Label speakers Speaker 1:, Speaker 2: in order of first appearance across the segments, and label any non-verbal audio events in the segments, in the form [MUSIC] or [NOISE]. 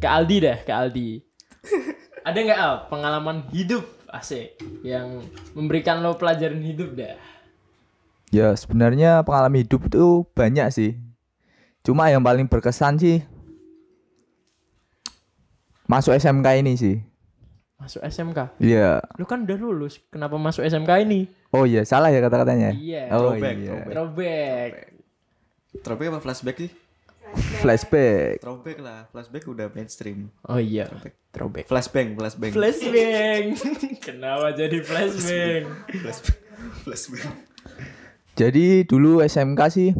Speaker 1: Ke Aldi deh, ke Aldi. [LAUGHS] Ada nggak Al pengalaman hidup asik yang memberikan lo pelajaran hidup dah?
Speaker 2: Ya sebenarnya pengalaman hidup itu banyak sih. Cuma yang paling berkesan sih masuk SMK ini sih.
Speaker 1: Masuk SMK.
Speaker 2: Iya.
Speaker 1: Lu kan udah lulus, kenapa masuk SMK ini?
Speaker 2: Oh iya salah ya kata-katanya.
Speaker 1: Iya.
Speaker 2: Oh
Speaker 3: Throwback,
Speaker 2: iya.
Speaker 3: throwback.
Speaker 1: Throwback.
Speaker 3: Throwback apa flashback sih?
Speaker 2: Flashback.
Speaker 3: Throwback lah, flashback udah mainstream.
Speaker 1: Oh iya. Throwback.
Speaker 3: Flashbang, flashbang.
Speaker 1: Flashbang. [LAUGHS] kenapa jadi flashbang?
Speaker 3: flashbang. flashbang.
Speaker 2: Jadi dulu SMK sih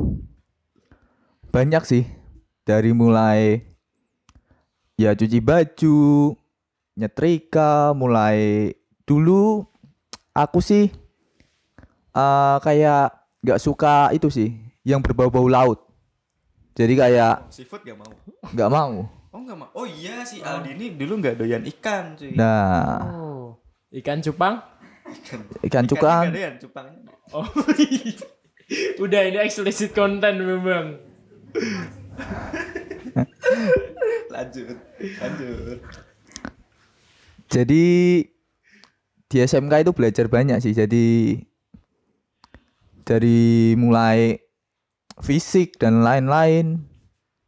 Speaker 2: banyak sih dari mulai ya cuci baju, nyetrika, mulai dulu aku sih eh, kayak nggak suka itu sih yang berbau-bau laut. Jadi kayak
Speaker 3: Seafood gak mau.
Speaker 2: nggak mau.
Speaker 3: Oh gak mau. Oh iya si Aldi ini dulu gak doyan ikan cuy.
Speaker 2: Nah,
Speaker 1: Oh. Ikan cupang?
Speaker 3: ikan.
Speaker 2: ikan
Speaker 3: Ikan
Speaker 2: cukang
Speaker 3: doyan, cupangnya.
Speaker 1: Oh. [LAUGHS] Udah ini eksplisit konten memang.
Speaker 3: Lanjut, lanjut.
Speaker 2: Jadi di SMK itu belajar banyak sih. Jadi dari mulai fisik dan lain-lain.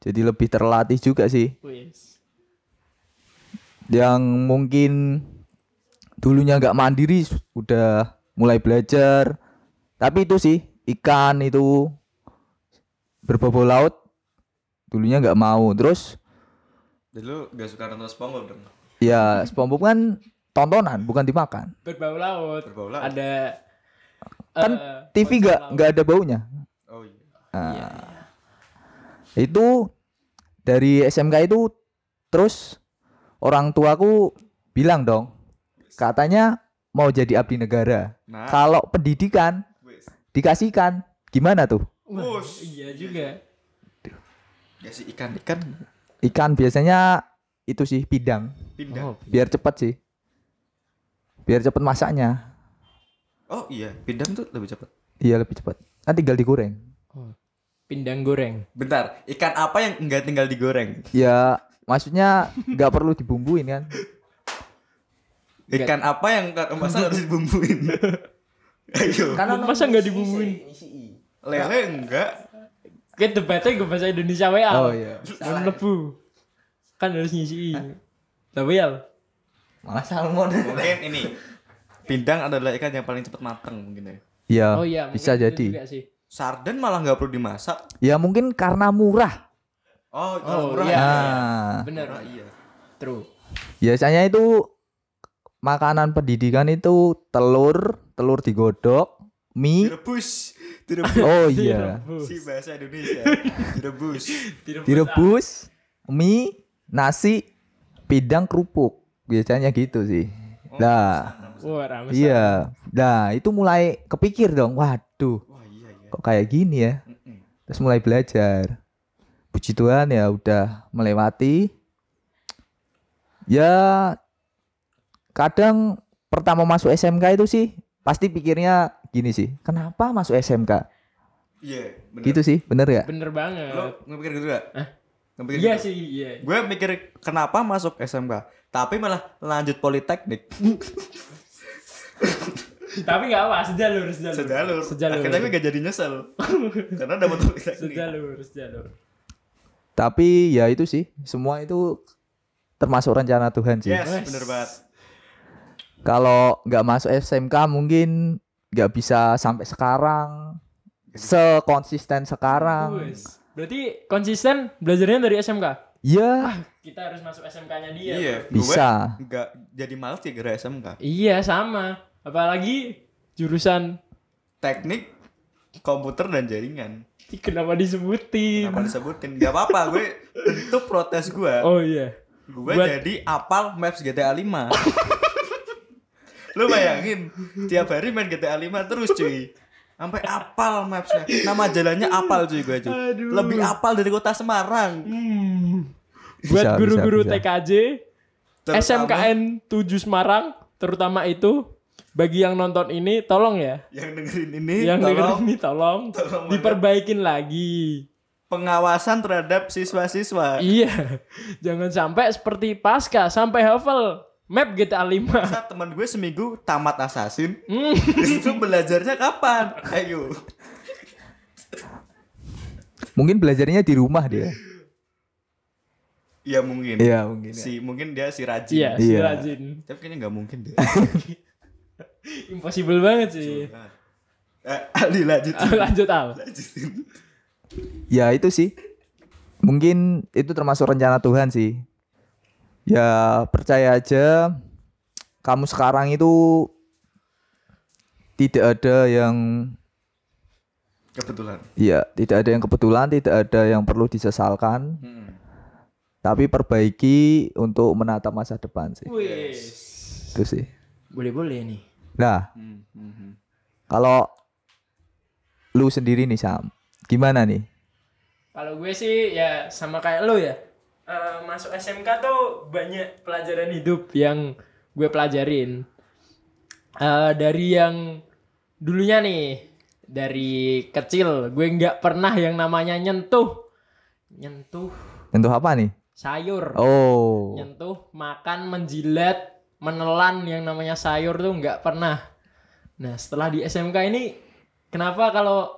Speaker 2: Jadi lebih terlatih juga sih.
Speaker 1: Wis.
Speaker 2: Yang mungkin dulunya nggak mandiri udah mulai belajar. Tapi itu sih ikan itu berbobot laut dulunya nggak mau. Terus
Speaker 3: Dulu gak suka nonton SpongeBob dong.
Speaker 2: ya SpongeBob kan tontonan bukan dimakan.
Speaker 1: Berbau laut.
Speaker 3: Berbau laut.
Speaker 1: Ada
Speaker 2: Kan
Speaker 1: eh,
Speaker 2: TV nggak nggak ada baunya.
Speaker 3: Oh iya.
Speaker 2: itu dari SMK itu terus orang tuaku bilang dong katanya mau jadi abdi negara
Speaker 3: Nah.
Speaker 2: kalau pendidikan
Speaker 3: Wes.
Speaker 2: dikasihkan gimana tuh
Speaker 1: Wah,
Speaker 3: Wush.
Speaker 1: iya juga.
Speaker 3: Ya si ikan ikan
Speaker 2: ikan biasanya itu sih pidang
Speaker 3: pindah. Oh,
Speaker 2: biar cepet sih biar cepet masaknya
Speaker 3: iya, pindang tuh lebih cepat.
Speaker 2: iya lebih cepet kan tinggal digoreng
Speaker 1: Pindang goreng.
Speaker 3: Bentar, ikan apa yang enggak tinggal digoreng?
Speaker 2: ya maksudnya nggak perlu dibumbuin
Speaker 1: [LAUGHS]
Speaker 2: kan
Speaker 3: Ikan apa yang oh, [LAUGHS] masa harus dibumbuin? Ayo.
Speaker 2: karena
Speaker 1: Masa nggak dibumbuin?
Speaker 3: Lele enggak.
Speaker 1: Kita debatnya gue bahasa Indonesia WA.
Speaker 2: oh iya
Speaker 1: Belum lebu. Kan harus ngisi. Tapi ya.
Speaker 2: malah salmon
Speaker 3: Mungkin ini pindang adalah ikan yang paling cepat matang mungkin ya.
Speaker 2: ya
Speaker 1: Oh iya,
Speaker 2: bisa
Speaker 1: mungkin itu
Speaker 2: jadi
Speaker 1: juga sih.
Speaker 3: Sarden malah nggak perlu dimasak.
Speaker 2: ya mungkin karena murah
Speaker 3: Oh, itu
Speaker 1: Oh,
Speaker 3: murah.
Speaker 1: iya.
Speaker 3: ya.
Speaker 2: nah
Speaker 1: Bener.
Speaker 3: Murah, iya.
Speaker 1: True.
Speaker 2: Biasanya itu makanan pendidikan itu telur, telur digodok, mie.
Speaker 3: Direbus, direbus.
Speaker 2: Oh iya.
Speaker 1: Direbus.
Speaker 3: si bahasa [LAUGHS] Indonesia. Direbus.
Speaker 1: Direbus.
Speaker 2: Direbus, mie, nasi, pidang kerupuk. Biasanya gitu sih.
Speaker 3: Oh,
Speaker 2: Nah,
Speaker 1: Wah, rame.
Speaker 2: iya. Nah, itu mulai kepikir dong. Waduh,
Speaker 3: Wah, iya iya.
Speaker 2: kok kayak gini ya?
Speaker 3: Mm-mm.
Speaker 2: Terus mulai belajar. Puji Tuhan ya udah melewati. Ya kadang pertama masuk SMK itu sih pasti pikirnya gini sih. Kenapa masuk SMK?
Speaker 3: Iya, bener.
Speaker 2: Gitu sih, bener ya?
Speaker 1: Bener banget.
Speaker 3: Lo ngepikir gitu gak?
Speaker 1: Hah?
Speaker 3: Ngepikir
Speaker 1: Iya
Speaker 3: gitu?
Speaker 1: sih, iya.
Speaker 3: Gue mikir kenapa masuk SMK, tapi malah lanjut politeknik.
Speaker 1: Tapi nggak apa, sejalur, sejalur.
Speaker 3: Sejalur.
Speaker 1: Sejalur.
Speaker 3: Akhirnya gue gak jadi
Speaker 1: [LAUGHS]
Speaker 3: nyesel. Karena dapat politeknik.
Speaker 1: sejalur, sejalur.
Speaker 2: Tapi ya itu sih, semua itu termasuk rencana Tuhan sih.
Speaker 3: Yes, bener banget.
Speaker 2: Kalau nggak masuk SMK mungkin nggak bisa sampai sekarang, sekonsisten sekarang.
Speaker 1: Wes. Berarti konsisten belajarnya dari SMK.
Speaker 2: Ya
Speaker 1: Kita harus masuk SMK-nya dia.
Speaker 3: Iya,
Speaker 2: bisa.
Speaker 3: Gue gak jadi males ya gara SMK.
Speaker 1: Iya, sama. Apalagi jurusan
Speaker 3: Teknik, komputer dan jaringan.
Speaker 1: Ih, kenapa disebutin?
Speaker 3: Kenapa disebutin? Gak apa-apa, gue bentuk protes gue.
Speaker 1: Oh iya.
Speaker 3: Gue
Speaker 1: Buat-
Speaker 3: jadi apal maps GTA 5 Lu bayangin Tiap hari main GTA 5 terus cuy Sampai apal mapsnya Nama jalannya apal cuy gue cuy
Speaker 1: Aduh.
Speaker 3: Lebih apal dari kota Semarang
Speaker 1: Hmm.
Speaker 2: Bisa,
Speaker 1: Buat guru-guru
Speaker 2: bisa, bisa.
Speaker 1: TKJ,
Speaker 3: Terutama-
Speaker 1: SMKN 7 Semarang, terutama itu bagi yang nonton ini tolong ya
Speaker 3: yang dengerin ini
Speaker 1: yang
Speaker 3: tolong
Speaker 1: dengerin ini tolong,
Speaker 3: tolong banget.
Speaker 1: diperbaikin lagi
Speaker 3: pengawasan terhadap siswa-siswa
Speaker 1: iya jangan sampai seperti pasca sampai hafal map GTA
Speaker 2: [LAUGHS]
Speaker 1: 5
Speaker 3: Masa teman gue seminggu tamat assassin
Speaker 1: Hmm.
Speaker 3: itu belajarnya kapan ayo
Speaker 2: Mungkin belajarnya di rumah dia.
Speaker 3: ya mungkin
Speaker 2: Iya, mungkin. ya.
Speaker 3: si mungkin dia si rajin
Speaker 1: iya si
Speaker 2: Iya.
Speaker 1: rajin
Speaker 3: tapi kayaknya nggak mungkin
Speaker 1: [LAUGHS]
Speaker 3: deh
Speaker 1: impossible banget sih
Speaker 3: eh, Ali lanjutin
Speaker 1: lanjut al
Speaker 3: lanjutin
Speaker 2: Ya itu sih. Mungkin itu termasuk rencana Tuhan sih. Ya percaya aja kamu sekarang itu tidak ada yang
Speaker 3: kebetulan
Speaker 2: ya tidak ada yang kebetulan, tidak ada yang perlu disesalkan,
Speaker 3: Mm-mm.
Speaker 2: tapi perbaiki untuk menatap masa depan sih.
Speaker 1: Wis.
Speaker 2: Itu sih.
Speaker 1: boleh boleh nih
Speaker 2: Nah,
Speaker 3: Mm-mm.
Speaker 2: kalau lu sendiri nih Sam, gimana nih?
Speaker 1: Kalau gue sih ya sama kayak lo ya. Eh, masuk SMK tuh banyak pelajaran hidup yang gue pelajarin. Eh, dari yang dulunya nih, dari kecil gue nggak pernah yang namanya nyentuh, nyentuh
Speaker 2: Tentu apa nih?
Speaker 1: sayur,
Speaker 2: Oh,
Speaker 1: nyentuh makan, menjilat, menelan yang namanya sayur tuh nggak pernah. Nah setelah di SMK ini, kenapa kalau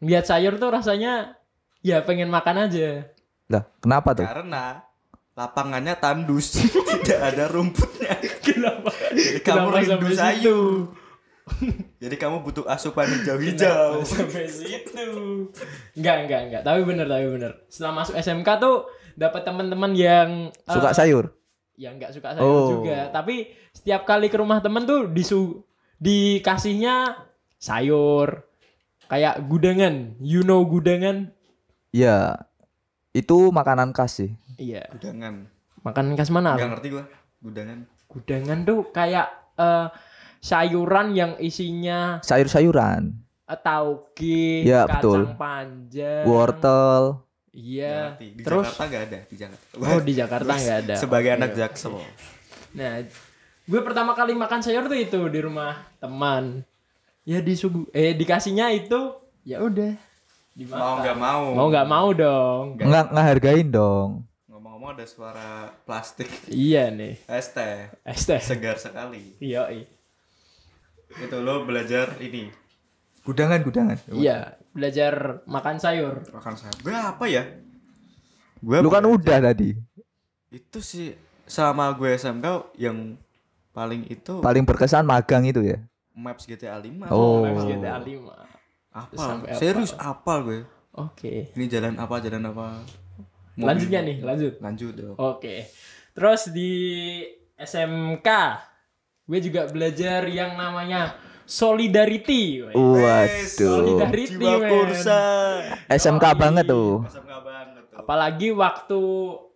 Speaker 1: lihat sayur tuh rasanya ya pengen makan aja.
Speaker 2: lah kenapa tuh?
Speaker 3: karena lapangannya tandus [LAUGHS] tidak ada rumputnya
Speaker 1: Kenapa?
Speaker 3: jadi kamu
Speaker 1: Kenapa
Speaker 3: rindu
Speaker 1: sampai
Speaker 3: sayur jadi kamu butuh
Speaker 1: [LAUGHS]
Speaker 3: asupan hijau-hijau
Speaker 1: Kenapa sampai situ. Enggak, enggak, enggak. Tapi bener, tapi bener. Setelah masuk SMK tuh dapat teman-teman yang eh,
Speaker 2: Suka sayur?
Speaker 1: ya enggak suka sayur
Speaker 2: Oh.
Speaker 1: juga. Tapi setiap kali ke rumah temen tuh disu dikasihnya sayur kayak gudangan. You know gudangan?
Speaker 2: Ya, itu makanan khas sih.
Speaker 1: Iya.
Speaker 3: gudangan
Speaker 1: Makanan khas mana?
Speaker 3: nggak ngerti gua gudangan
Speaker 1: Gudangan tuh kayak eh, sayuran yang isinya
Speaker 2: Sayur-sayuran,
Speaker 1: eh, tauge,
Speaker 2: Ya, betul.
Speaker 1: kacang
Speaker 3: Eh.
Speaker 1: panjang,
Speaker 2: wortel.
Speaker 3: Nggak
Speaker 1: Iya.
Speaker 3: ngerti. di
Speaker 1: Terus
Speaker 3: Jakarta nggak ada di Jakarta
Speaker 1: Oh di Jakarta nggak ada. Iya.
Speaker 3: sebagai
Speaker 1: Oke,
Speaker 3: anak
Speaker 1: oke.
Speaker 3: jaksel
Speaker 1: Nah, gue pertama kali makan sayur tuh itu di rumah teman. Ya disugu, eh dikasihnya itu ya udah. Dimakan.
Speaker 3: mau nggak mau
Speaker 1: Mau nggak mau dong.
Speaker 3: Nggak.
Speaker 2: Nggak ngehargain dong.
Speaker 3: ngomong-ngomong ada suara plastik [LAUGHS]
Speaker 1: Iya nih.
Speaker 3: es teh
Speaker 1: Estes.
Speaker 3: segar sekali
Speaker 1: Iya.
Speaker 3: itu lo belajar ini
Speaker 2: Gudangan, gudangan.
Speaker 1: Iya. Belajar makan sayur.
Speaker 3: makan sayur gue apa ya gue
Speaker 2: Lu kan udah tadi.
Speaker 3: itu sih sama gue SMK yang paling itu
Speaker 2: Paling berkesan magang itu ya.
Speaker 3: maps GTA 5
Speaker 2: Oh.
Speaker 1: Habis GTA 5.
Speaker 3: apal
Speaker 1: Sampai apal.
Speaker 3: serius apal gue
Speaker 1: Oke.
Speaker 3: ini jalan apa jalan apa Mobil.
Speaker 1: Lanjutnya nih, Oh, lanjut.
Speaker 3: lanjut dong
Speaker 1: Oke. Terus di SMK gue juga belajar yang namanya solidarity. weh.
Speaker 2: Waduh.
Speaker 1: Solidarity,
Speaker 3: Oh. jiwa
Speaker 1: men.
Speaker 3: kursa
Speaker 2: SMK
Speaker 1: Yoi.
Speaker 2: banget tuh.
Speaker 3: SMK banget tuh
Speaker 1: Apalagi waktu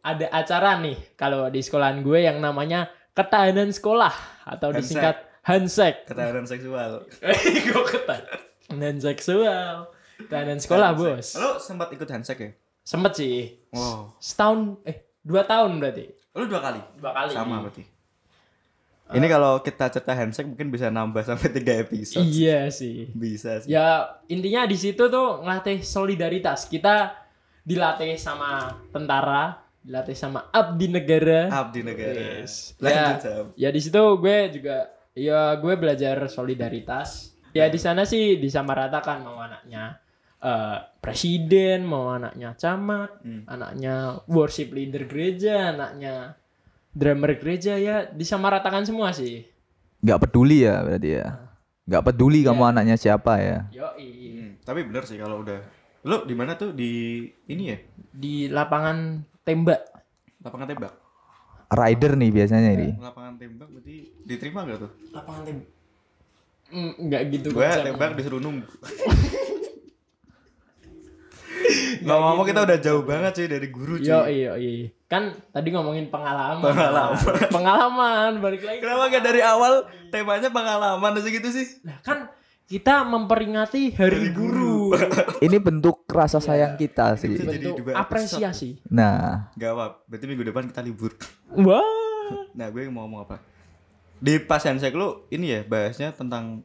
Speaker 1: ada acara nih, kalau di sekolahan gue yang namanya ketahanan sekolah atau
Speaker 3: Hansek.
Speaker 1: disingkat Hansek.
Speaker 3: ketahanan seksual
Speaker 1: gue ketahanan seksual. Ketahanan sekolah,
Speaker 3: Hansek.
Speaker 1: Bos.
Speaker 3: lo sempat ikut handshake ya
Speaker 1: Sempet sih.
Speaker 3: wow
Speaker 1: Setahun eh dua tahun berarti.
Speaker 3: lo dua kali
Speaker 1: Dua kali.
Speaker 3: sama berarti ini kalau kita cerita handshake mungkin bisa nambah sampai tiga episode
Speaker 1: Iya sih.
Speaker 3: bisa sih
Speaker 1: Ya intinya di situ tuh ngelatih solidaritas. Kita dilatih sama tentara, dilatih sama abdi negara.
Speaker 3: abdi negara
Speaker 1: Yes. Ya.
Speaker 3: lanjut Sam.
Speaker 1: ya di situ gue juga ya gue belajar solidaritas ya di sana sih disamaratakan mau anaknya eh, presiden mau anaknya camat
Speaker 3: Hmm.
Speaker 1: anaknya worship leader gereja anaknya drummer gereja ya disamaratakan semua sih
Speaker 2: Nggak peduli ya berarti ya. Nggak peduli
Speaker 3: Iya.
Speaker 2: kamu anaknya siapa ya.
Speaker 1: yoi
Speaker 3: Hmm, tapi bener sih kalau udah lo di mana tuh di ini ya
Speaker 1: di lapangan tembak
Speaker 3: lapangan tembak
Speaker 2: Rider nih biasanya
Speaker 3: [LAUGHS]
Speaker 2: ini.
Speaker 3: lapangan tembak berarti diterima gak tuh
Speaker 1: lapangan tembak nggak gitu
Speaker 3: gue
Speaker 1: konsepnya.
Speaker 3: tembak disuruh [LAUGHS] nunggu ngomong-ngomong kita udah jauh banget sih dari guru
Speaker 1: Yo
Speaker 3: cuy
Speaker 1: iyo iyo. Kan tadi ngomongin pengalaman.
Speaker 3: Pengalaman.
Speaker 1: Pengalaman, balik lagi.
Speaker 3: kenapa gak dari awal temanya pengalaman aja gitu sih
Speaker 1: Nah, kan kita memperingati Hari Guru. [LAUGHS]
Speaker 2: Ini bentuk rasa sayang kita
Speaker 3: Itu
Speaker 2: sih.
Speaker 3: jadi
Speaker 1: Bentuk
Speaker 3: dua episode.
Speaker 1: apresiasi.
Speaker 2: Nah,
Speaker 3: gak apa berarti minggu depan kita libur
Speaker 1: Wah.
Speaker 3: nah gue mau ngomong apa Di pas handshake lu ini ya bahasnya tentang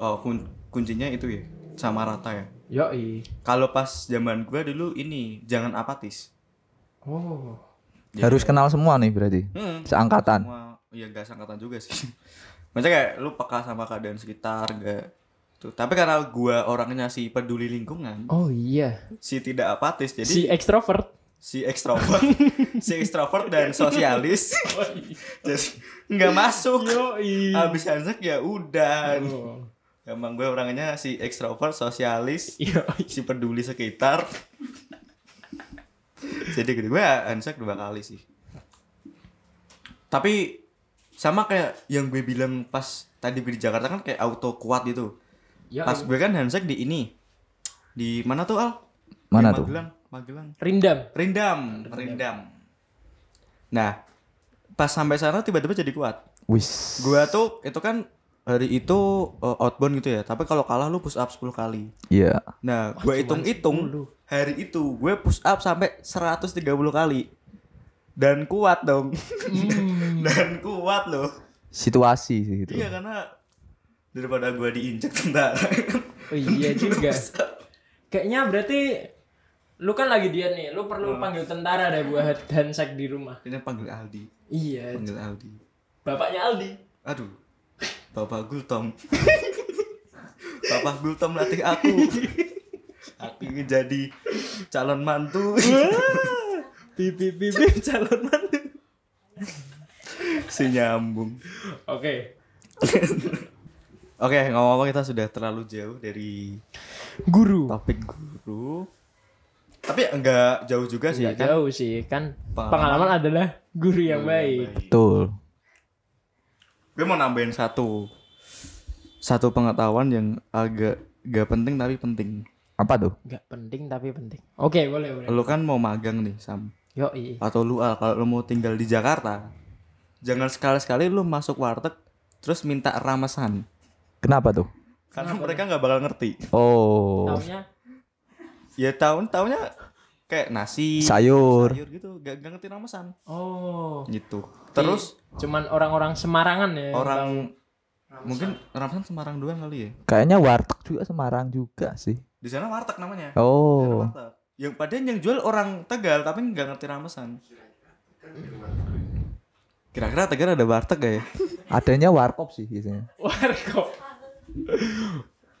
Speaker 3: oh, kun- kuncinya itu ya sama rata ya.
Speaker 1: Yoi.
Speaker 3: Kalau pas zaman gua dulu ini jangan apatis.
Speaker 1: Oh.
Speaker 3: Ya.
Speaker 2: Harus kenal semua nih berarti.
Speaker 3: Hmm.
Speaker 2: Seangkatan.
Speaker 3: Semua ya gak seangkatan juga sih. [LAUGHS] Maksudnya kayak lu peka sama keadaan sekitar gak tuh. Tapi karena gua orangnya si peduli lingkungan,
Speaker 1: Oh iya.
Speaker 3: si tidak apatis jadi
Speaker 1: si ekstrovert.
Speaker 3: si ekstrovert si ekstrovert dan sosialis jadi nggak
Speaker 1: [LAUGHS]
Speaker 3: masuk
Speaker 1: Yoi.
Speaker 3: habis handshake ya udah
Speaker 1: Oh.
Speaker 3: emang gue orangnya si ekstrovert sosialis
Speaker 1: Yoi.
Speaker 3: si peduli sekitar jadi gitu gue handshake dua kali sih tapi sama kayak yang gue bilang pas tadi gue di Jakarta kan kayak auto kuat gitu
Speaker 1: Yoi.
Speaker 3: pas gue kan handshake di ini di mana tuh Al
Speaker 2: Mana
Speaker 3: Di
Speaker 2: tuh?
Speaker 3: Magelang Magelang
Speaker 1: Rindam.
Speaker 3: Rindam, rindam. Nah, pas sampai sana tiba-tiba jadi kuat.
Speaker 2: Wis.
Speaker 3: Gua tuh itu kan hari itu uh, outbound gitu ya, tapi kalau kalah lu push up 10 kali.
Speaker 2: Iya.
Speaker 3: Nah, gua hitung-hitung hari itu gue push up sampai 130 kali. Dan kuat dong.
Speaker 1: Hmm.
Speaker 3: [LAUGHS] Dan kuat loh.
Speaker 2: Situasi sih gitu.
Speaker 3: Iya karena daripada gua diinjek tentara.
Speaker 1: Oh iya
Speaker 3: [LAUGHS]
Speaker 1: juga. [LAUGHS] Kayaknya berarti lu kan lagi diet nih, lu perlu panggil tentara deh buat handshake di rumah.
Speaker 3: Ini panggil Aldi,
Speaker 1: Iya,
Speaker 3: panggil Aldi.
Speaker 1: bapaknya [LAUGHS] Aldi.
Speaker 3: Aduh, Bapak Gultom. [LAUGHS] Bapak Gultom latih
Speaker 1: [LAUGHS]
Speaker 3: aku. Aku ingin jadi calon mantu.
Speaker 1: [LAUGHS] Pipi pipi calon mantu.
Speaker 3: si nyambung.
Speaker 1: Oke.
Speaker 3: Oke, ngomong-ngomong kita sudah terlalu jauh dari
Speaker 1: Guru.
Speaker 3: topik guru. Tapi enggak jauh juga sih
Speaker 1: Ya
Speaker 3: kan.
Speaker 1: jauh sih kan
Speaker 3: Pengalaman-
Speaker 1: pengalaman, adalah guru yang baik.
Speaker 2: Betul.
Speaker 3: Gue mau nambahin satu satu pengetahuan yang agak gak penting tapi penting.
Speaker 2: Apa tuh?
Speaker 1: Gak penting tapi penting. Oke, boleh boleh.
Speaker 3: Lu kan mau magang nih, Sam.
Speaker 1: Yoi.
Speaker 3: atau lu Al, kalau lu mau tinggal di Jakarta jangan sekali-sekali lu masuk warteg terus minta ramesan
Speaker 2: Kenapa tuh?
Speaker 3: karena mereka nggak bakal ngerti
Speaker 2: Oh,
Speaker 1: Taunya
Speaker 3: ya tahun tahunnya kayak nasi
Speaker 2: sayur.
Speaker 3: sayur gitu gak, gak ngerti ramesan
Speaker 1: oh.
Speaker 3: gitu terus
Speaker 1: cuman orang-orang Semarangan ya.
Speaker 3: orang mungkin ramesan Semarang doang kali ya
Speaker 2: Kayaknya warteg juga Semarang juga sih.
Speaker 3: di sana warteg namanya Di sana
Speaker 2: Oh,
Speaker 3: warteg. yang padahal yang jual orang Tegal tapi nggak ngerti ramesan kira-kira Tegal ada warteg gak ya
Speaker 2: adanya warkop sih biasanya.
Speaker 1: [LAUGHS] warkop.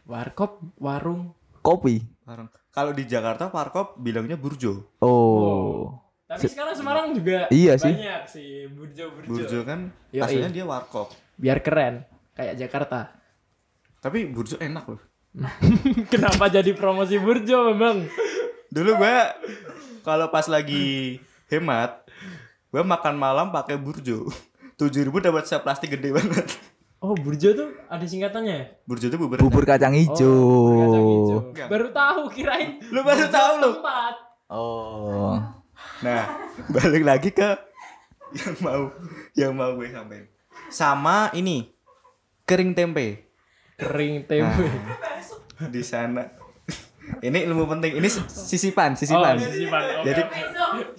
Speaker 1: Warkop warung.
Speaker 2: Kopi.
Speaker 3: Warung. kalau di Jakarta Warkop bilangnya burjo
Speaker 2: Oh,
Speaker 1: Tapi sekarang Semarang juga
Speaker 2: Iya sih.
Speaker 1: banyak sih burjo-burjo.
Speaker 3: Burjo kan
Speaker 1: Yoi.
Speaker 3: aslinya dia warkop.
Speaker 1: Biar keren kayak Jakarta. [LAUGHS]
Speaker 3: Tapi burjo enak loh.
Speaker 1: Kenapa jadi promosi burjo, Bang?
Speaker 3: Dulu gua kalau pas lagi hemat, gua makan malam pakai burjo. [LAUGHS] 7000 dapat set plastik gede banget.
Speaker 1: Oh, burjo tuh ada singkatannya ya?
Speaker 3: Burjo itu bubur.
Speaker 2: bubur kacang
Speaker 1: burjo Oh, kacang hijau.
Speaker 2: hijau.
Speaker 3: Enggak.
Speaker 1: Baru tahu kirain
Speaker 3: Lu baru tahu lu.
Speaker 1: tempat.
Speaker 2: Oh,
Speaker 3: Nah, [LAUGHS] balik lagi ke yang mau yang mau gue sampein. Sama ini kering tempe.
Speaker 1: Kering [LAUGHS]
Speaker 3: Nah,
Speaker 1: Oh, tempe.
Speaker 3: Di sana. Ini ilmu penting. Ini sisipan,
Speaker 1: oh,
Speaker 3: sisipan.
Speaker 1: sisipan. Oke.
Speaker 3: Jadi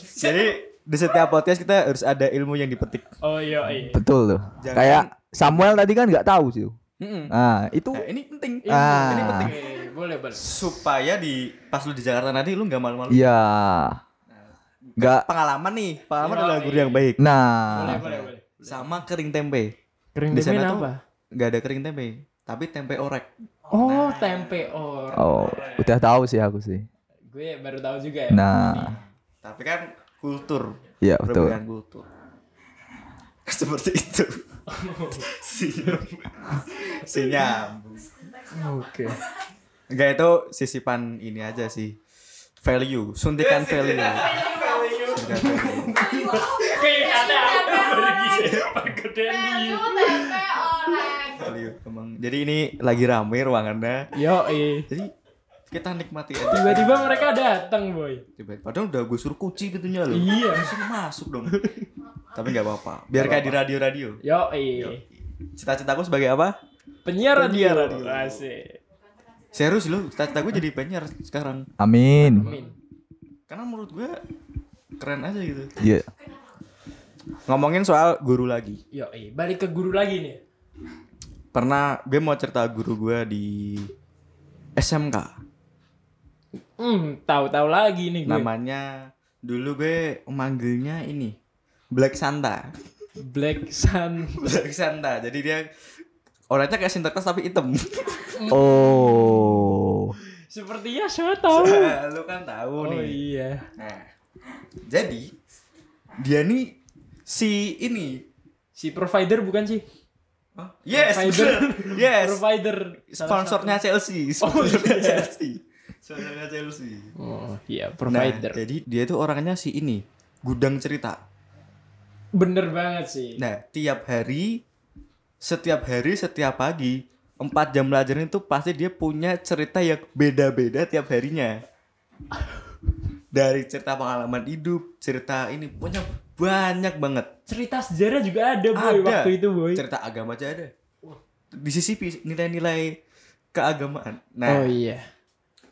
Speaker 3: jadi di setiap podcast kita harus ada ilmu yang dipetik.
Speaker 1: Oh, iya, iya.
Speaker 2: betul tuh.
Speaker 3: Jangan-
Speaker 2: Kayak Samuel tadi kan nggak tahu sih. Nah, itu
Speaker 3: Nah, ini penting.
Speaker 1: Iya,
Speaker 2: Ah.
Speaker 3: Ini penting.
Speaker 1: Oke, boleh, boleh.
Speaker 3: Supaya di pas lu di Jakarta nanti lu nggak malu-malu.
Speaker 2: iya. Nggak.
Speaker 3: Pengalaman nih, pengalaman
Speaker 1: Yoi.
Speaker 3: adalah guru yang baik.
Speaker 1: Boleh,
Speaker 2: Nah,
Speaker 1: boleh, boleh.
Speaker 3: Sama kering tempe.
Speaker 1: Kering
Speaker 3: Di
Speaker 1: tempe
Speaker 3: sana tuh
Speaker 1: apa?
Speaker 3: nggak ada kering tempe, tapi tempe orek.
Speaker 1: Oh, tempe or.
Speaker 2: oh, udah tahu sih aku sih.
Speaker 1: Gue baru tahu juga ya.
Speaker 2: Nah,
Speaker 3: Tapi kan kultur,
Speaker 2: iya betul.
Speaker 3: perbedaan kultur. [LAUGHS] Seperti [LAUGHS] itu. si si nyambung.
Speaker 1: Oke.
Speaker 3: Enggak itu sisipan ini aja sih. Value, Iya, suntikan value. Suntikan value.
Speaker 1: Oke, ada apa pergi pergedean
Speaker 4: Lu tempe orek.
Speaker 3: Value, emang. Jadi ini lagi rame ruangannya.
Speaker 1: Yo,
Speaker 3: Jadi kita nikmati aja.
Speaker 1: Tiba-tiba mereka datang, boy.
Speaker 3: Tiba-tiba. Padahal udah gue suruh kunci pintunya loh.
Speaker 1: Iya.
Speaker 3: Langsung masuk dong. Tapi nggak apa-apa. Biar kayak di radio-radio.
Speaker 1: Yo,
Speaker 3: Cita-citaku sebagai apa?
Speaker 1: Penyiar radio.
Speaker 3: Penyiar radio.
Speaker 1: Asik.
Speaker 3: Serius lu, cita-cita gue jadi penyiar sekarang.
Speaker 2: Amin.
Speaker 3: Hmm.
Speaker 1: Amin.
Speaker 3: Karena menurut gue keren aja gitu.
Speaker 2: Iya.
Speaker 3: Ngomongin soal guru lagi.
Speaker 1: Yo, balik ke guru lagi nih.
Speaker 3: Pernah gue mau cerita guru gue di SMK.
Speaker 1: Hmm, tahu-tahu lagi
Speaker 3: Iya.
Speaker 1: nih gue.
Speaker 3: Namanya dulu gue manggilnya ini Black Santa.
Speaker 1: Black Sun.
Speaker 3: [LAUGHS] Black Santa. Jadi dia orangnya kayak Sinterklas tapi hitam.
Speaker 2: Oh.
Speaker 1: Sepertinya saya tahu.
Speaker 3: [LAUGHS] Lu kan
Speaker 1: Oh
Speaker 3: tahu nih.
Speaker 1: iya.
Speaker 3: Nah, jadi dia nih si ini.
Speaker 1: Si provider bukan sih?
Speaker 3: Yes,
Speaker 1: Provider.
Speaker 3: bener. [LAUGHS] yes.
Speaker 1: Provider. Salah Oh, iya.
Speaker 3: Sponsornya Chelsea, sponsornya Chelsea, sponsornya Chelsea.
Speaker 1: satu. Oh iya,
Speaker 3: Nah,
Speaker 1: provider.
Speaker 3: jadi dia tuh orangnya si ini gudang cerita.
Speaker 1: Bener banget sih.
Speaker 3: Nah, tiap hari, setiap hari, setiap pagi, empat jam belajar itu pasti dia punya cerita yang beda-beda tiap harinya. Dari cerita pengalaman hidup, cerita ini punya banyak banget.
Speaker 1: Cerita sejarah juga ada boy
Speaker 3: Ada.
Speaker 1: waktu itu boy.
Speaker 3: Cerita agama aja ada. Di sisi nilai-nilai keagamaan.
Speaker 1: Oh
Speaker 3: Nah,
Speaker 1: iya.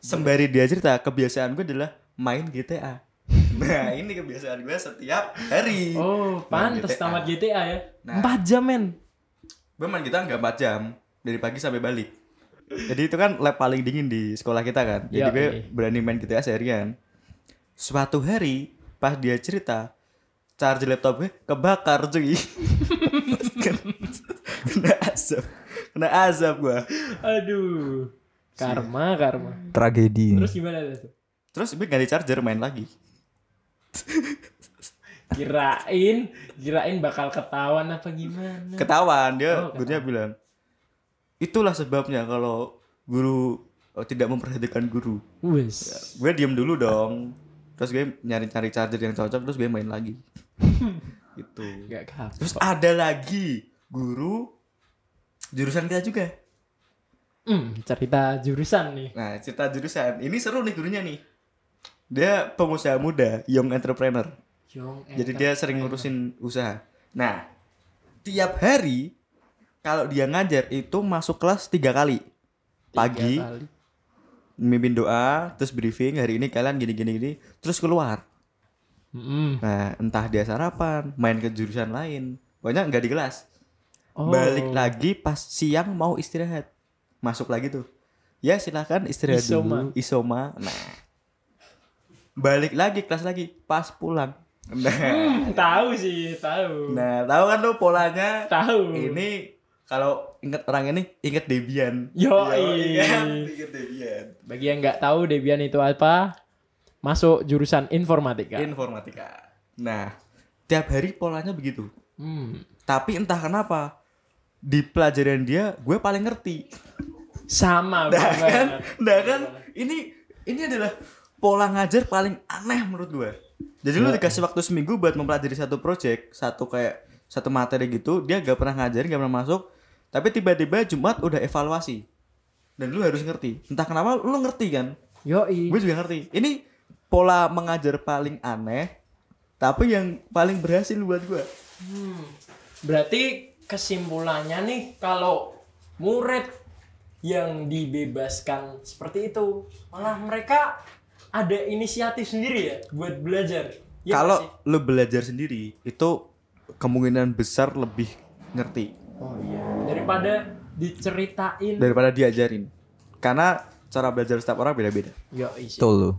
Speaker 3: sembari dia cerita, kebiasaan gue adalah main
Speaker 1: [LAUGHS]
Speaker 3: GTA. Nah, ini kebiasaan gue setiap hari.
Speaker 1: Oh, pantes
Speaker 3: GTA.
Speaker 1: tamat GTA ya.
Speaker 3: Nah.
Speaker 1: Empat jam men.
Speaker 3: Gue main gitar nggak 4 jam dari pagi sampai balik. Jadi itu kan lab paling dingin di sekolah kita kan. Jadi
Speaker 1: Ya,
Speaker 3: gue
Speaker 1: iya.
Speaker 3: berani main GTA seharian. Suatu hari pas dia cerita charge laptop gue kebakar cuy. [LAUGHS] kena azab. Kena azab gue.
Speaker 1: Aduh. Karma, karma.
Speaker 2: Tragedi.
Speaker 1: Terus gimana tuh?
Speaker 3: Terus gue ganti charger main lagi.
Speaker 1: Kirain, kirain bakal ketahuan apa gimana?
Speaker 3: Ketahuan dia
Speaker 1: Hmm. Oh,
Speaker 3: gurunya bilang. Itulah sebabnya kalau guru eh, tidak memperhatikan guru.
Speaker 1: Wes.
Speaker 3: gue diem dulu dong terus gue nyari-nyari charger yang cocok terus gue main lagi gitu
Speaker 1: Gak kapok.
Speaker 3: terus ada lagi guru jurusan kita juga
Speaker 1: Hmm, cerita jurusan nih.
Speaker 3: nah cerita jurusan ini seru nih gurunya nih dia pengusaha muda young entrepreneur
Speaker 1: Yong
Speaker 3: jadi dia sering ngurusin usaha nah tiap hari kalau dia ngajar itu masuk kelas tiga kali pagi mimpin doa terus briefing hari ini kalian gini gini gini terus keluar
Speaker 1: Mm-mm.
Speaker 3: Nah, entah dia sarapan, main ke jurusan lain. Pokoknya nggak di kelas.
Speaker 1: Oh.
Speaker 3: Balik lagi pas siang mau istirahat. Masuk lagi tuh. Ya silahkan istirahat
Speaker 1: Isoma.
Speaker 3: dulu. Isoma. Nah. Balik lagi kelas lagi. Pas pulang. [LAUGHS] Nah,
Speaker 1: Hmm, tahu sih, tahu.
Speaker 3: nah tahu kan lu polanya.
Speaker 1: Tahu.
Speaker 3: Ini kalau inget orang ini, inget Debian.
Speaker 1: Yoi.
Speaker 3: kan? Inget Debian.
Speaker 1: [LAUGHS] Bagi yang nggak tahu Debian itu apa, masuk jurusan
Speaker 3: Iya.
Speaker 1: informatika.
Speaker 3: Informatika. Nah, tiap hari polanya begitu.
Speaker 1: Hmm.
Speaker 3: Tapi entah kenapa di pelajaran dia gue paling ngerti.
Speaker 1: Sama
Speaker 3: Nah
Speaker 1: banget.
Speaker 3: kan, nah kan ini ini adalah pola ngajar paling aneh menurut gue. Jadi
Speaker 1: Iya.
Speaker 3: lu dikasih waktu seminggu buat mempelajari satu project, satu kayak satu materi gitu, dia gak pernah ngajarin, gak pernah masuk. Tapi tiba-tiba Jumat udah evaluasi. Dan lu harus ngerti. Entah kenapa lu ngerti kan?
Speaker 1: Yoi.
Speaker 3: Gue juga ngerti. Ini pola mengajar paling aneh tapi yang paling berhasil buat gue.
Speaker 1: Berarti kesimpulannya nih kalau murid yang dibebaskan seperti itu, malah mereka ada inisiatif sendiri ya buat belajar. Iya
Speaker 3: kalau
Speaker 1: nggak sih?
Speaker 3: lu belajar sendiri itu kemungkinan besar lebih ngerti
Speaker 1: Oh iya. Daripada diceritain.
Speaker 3: daripada diajarin karena cara belajar setiap orang beda-beda
Speaker 1: Yoi sih.
Speaker 2: Betul lu.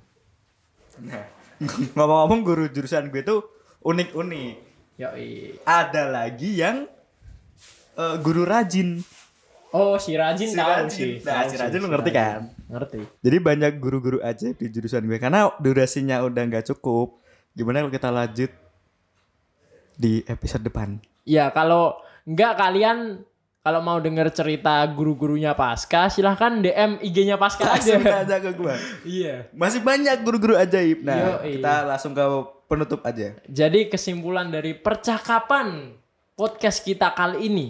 Speaker 3: nah [LAUGHS] ngomong-ngomong guru jurusan gue tuh unik-unik
Speaker 1: Yoi.
Speaker 3: ada lagi yang eh, guru rajin
Speaker 1: Oh, si Rajin
Speaker 3: Si
Speaker 1: tahu
Speaker 3: Rajin.
Speaker 1: sih.
Speaker 3: Nah,
Speaker 1: tahu
Speaker 3: si
Speaker 1: sih,
Speaker 3: Rajin lu ngerti
Speaker 1: Rajin.
Speaker 3: kan?
Speaker 1: Ngerti.
Speaker 3: jadi banyak guru-guru aja di jurusan gue karena durasinya udah nggak cukup gimana kalau kita lanjut di episode depan
Speaker 1: Ya, kalau enggak kalian kalau mau denger cerita guru-gurunya Pasca, silahkan DM IG-nya Pasca
Speaker 3: langsung
Speaker 1: aja.
Speaker 3: aja ke gue
Speaker 1: [LAUGHS] iya.
Speaker 3: masih banyak guru-guru ajaib nah
Speaker 1: Yoi.
Speaker 3: kita langsung ke penutup aja
Speaker 1: Jadi kesimpulan dari percakapan podcast kita kali ini.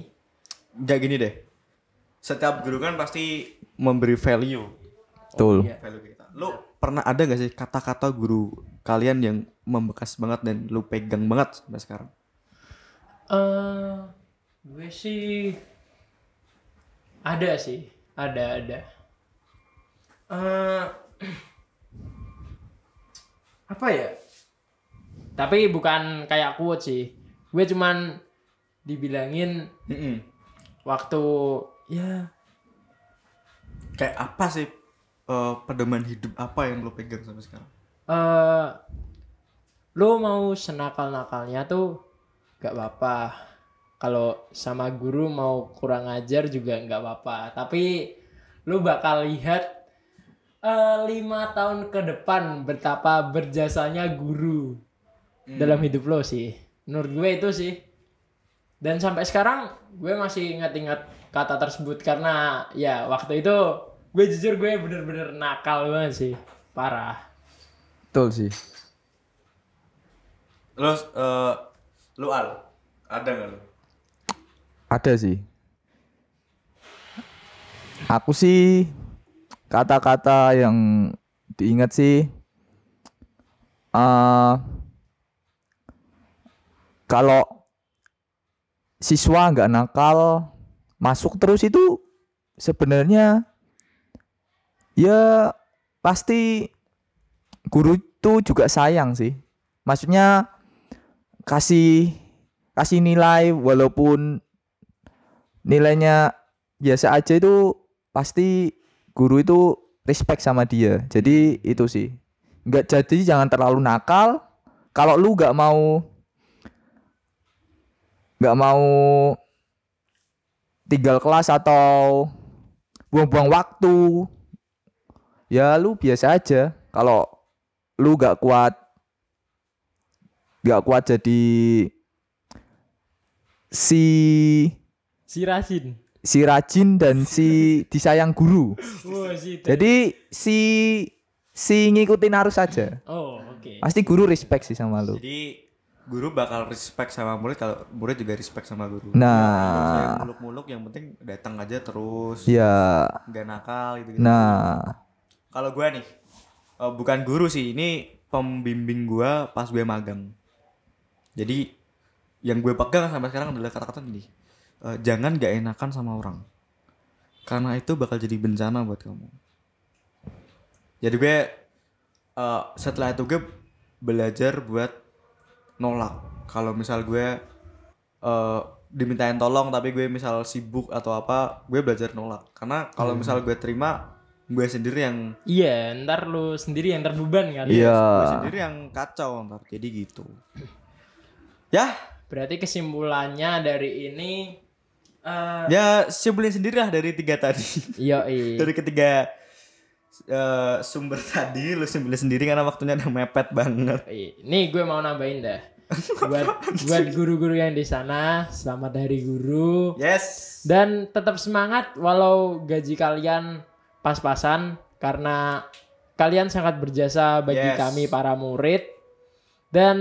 Speaker 3: Nggak gini deh. Setiap guru kan pasti memberi value.
Speaker 2: Betul.
Speaker 1: iya.
Speaker 3: Value kita. Lu pernah ada gak sih kata-kata guru kalian yang membekas banget dan lu pegang banget sampai sekarang?
Speaker 1: Eh, gue sih ada sih, ada ada. Eh, [CLEARS THROAT] apa ya? Tapi bukan kayak quote sih. gue cuman dibilangin
Speaker 3: Mm-mm.
Speaker 1: waktu ya
Speaker 3: Kayak apa sih eh, pedoman hidup apa yang lo pegang sampai sekarang?
Speaker 1: eh lo mau senakal-nakalnya tuh gak apa-apa. Kalau sama guru mau kurang ajar juga nggak apa-apa. Tapi lo bakal lihat eh, lima tahun ke depan betapa berjasanya guru dalam hidup lo sih. Menurut gue itu sih. Dan sampai sekarang gue masih ingat-ingat kata tersebut karena ya waktu itu gue jujur gue bener-bener nakal banget sih. Parah.
Speaker 2: Betul sih.
Speaker 3: Lo eh, lo al ada nggak lo?
Speaker 2: Ada sih. Aku sih kata-kata yang diingat sih eh kalau siswa nggak nakal masuk terus itu sebenarnya ya pasti guru itu juga sayang sih. Maksudnya kasih kasih nilai walaupun nilainya ya, biasa aja itu pasti guru itu respect sama dia jadi itu sih nggak jadi jangan terlalu nakal kalau lu nggak mau nggak mau tinggal kelas atau buang-buang waktu ya lu biasa aja kalau lu nggak kuat nggak kuat jadi si
Speaker 1: Si Rasin.
Speaker 2: si rajin dan si disayang guru.
Speaker 1: Wah, si itu.
Speaker 2: Jadi si si ngikutin arus aja.
Speaker 1: Oh, oke.
Speaker 2: Pasti guru respect sih sama lu.
Speaker 3: Jadi guru bakal respect sama murid kalau murid juga respect sama guru.
Speaker 2: Nah.
Speaker 3: Saya muluk-muluk yang penting datang aja terus.
Speaker 2: Ya.
Speaker 3: Gak nakal gitu.
Speaker 2: Nah,
Speaker 3: Kalau gua nih eh, bukan guru sih, ini pembimbing gua pas gue magang. Jadi yang gue pegang sampai sekarang adalah kata-kata gini. eh, jangan gak enakan sama orang. Karena itu bakal jadi bencana buat kamu. Jadi gue eh, setelah itu gue belajar buat nolak. Kalau misal gue eh, dimintain tolong tapi gue misal sibuk atau apa, gue belajar nolak. Karena kalau misal gue terima, gue sendiri yang
Speaker 1: Iya, ntar lu sendiri yang terbeban kan.
Speaker 2: iya.
Speaker 3: gue sendiri yang kacau ntar jadi gitu ya
Speaker 1: Berarti kesimpulannya dari ini eh
Speaker 3: ya simpulin sendiri lah dari tiga tadi
Speaker 1: yoi.
Speaker 3: dari ketiga eh, sumber tadi lu simpulin sendiri karena waktunya udah mepet banget
Speaker 1: Nih gue mau nambahin dah. buat buat guru-guru yang di sana, selamat dari guru
Speaker 3: yes
Speaker 1: dan tetap semangat walau gaji kalian pas-pasan karena kalian sangat berjasa bagi
Speaker 3: Yes.
Speaker 1: kami para murid. Dan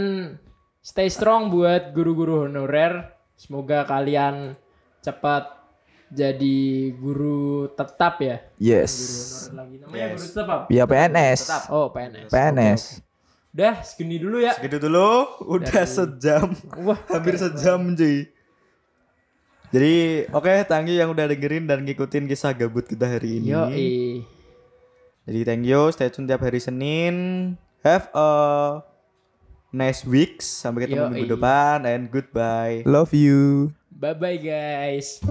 Speaker 1: stay strong buat guru-guru honorer. Semoga kalian cepat jadi guru tetap ya.
Speaker 2: Yes.
Speaker 1: Guru honorer lagi namanya
Speaker 3: Yes.
Speaker 1: guru tetap. apa?
Speaker 2: Ya PNS.
Speaker 3: Tetap.
Speaker 1: Oh, PNS.
Speaker 2: PNS.
Speaker 1: Udah, segini dulu ya.
Speaker 3: segitu dulu udah
Speaker 1: Dari-
Speaker 3: sejam
Speaker 1: Wah,
Speaker 3: hampir sejam cuy jadi oke thank you yang udah dengerin dan ngikutin kisah gabut kita hari ini
Speaker 1: Yoi.
Speaker 3: Jadi thank you, stay tune tiap hari Senin. Have a nice week. Sampai ketemu
Speaker 1: Yoi.
Speaker 3: minggu depan and goodbye.
Speaker 2: Love you.
Speaker 1: Bye-bye guys.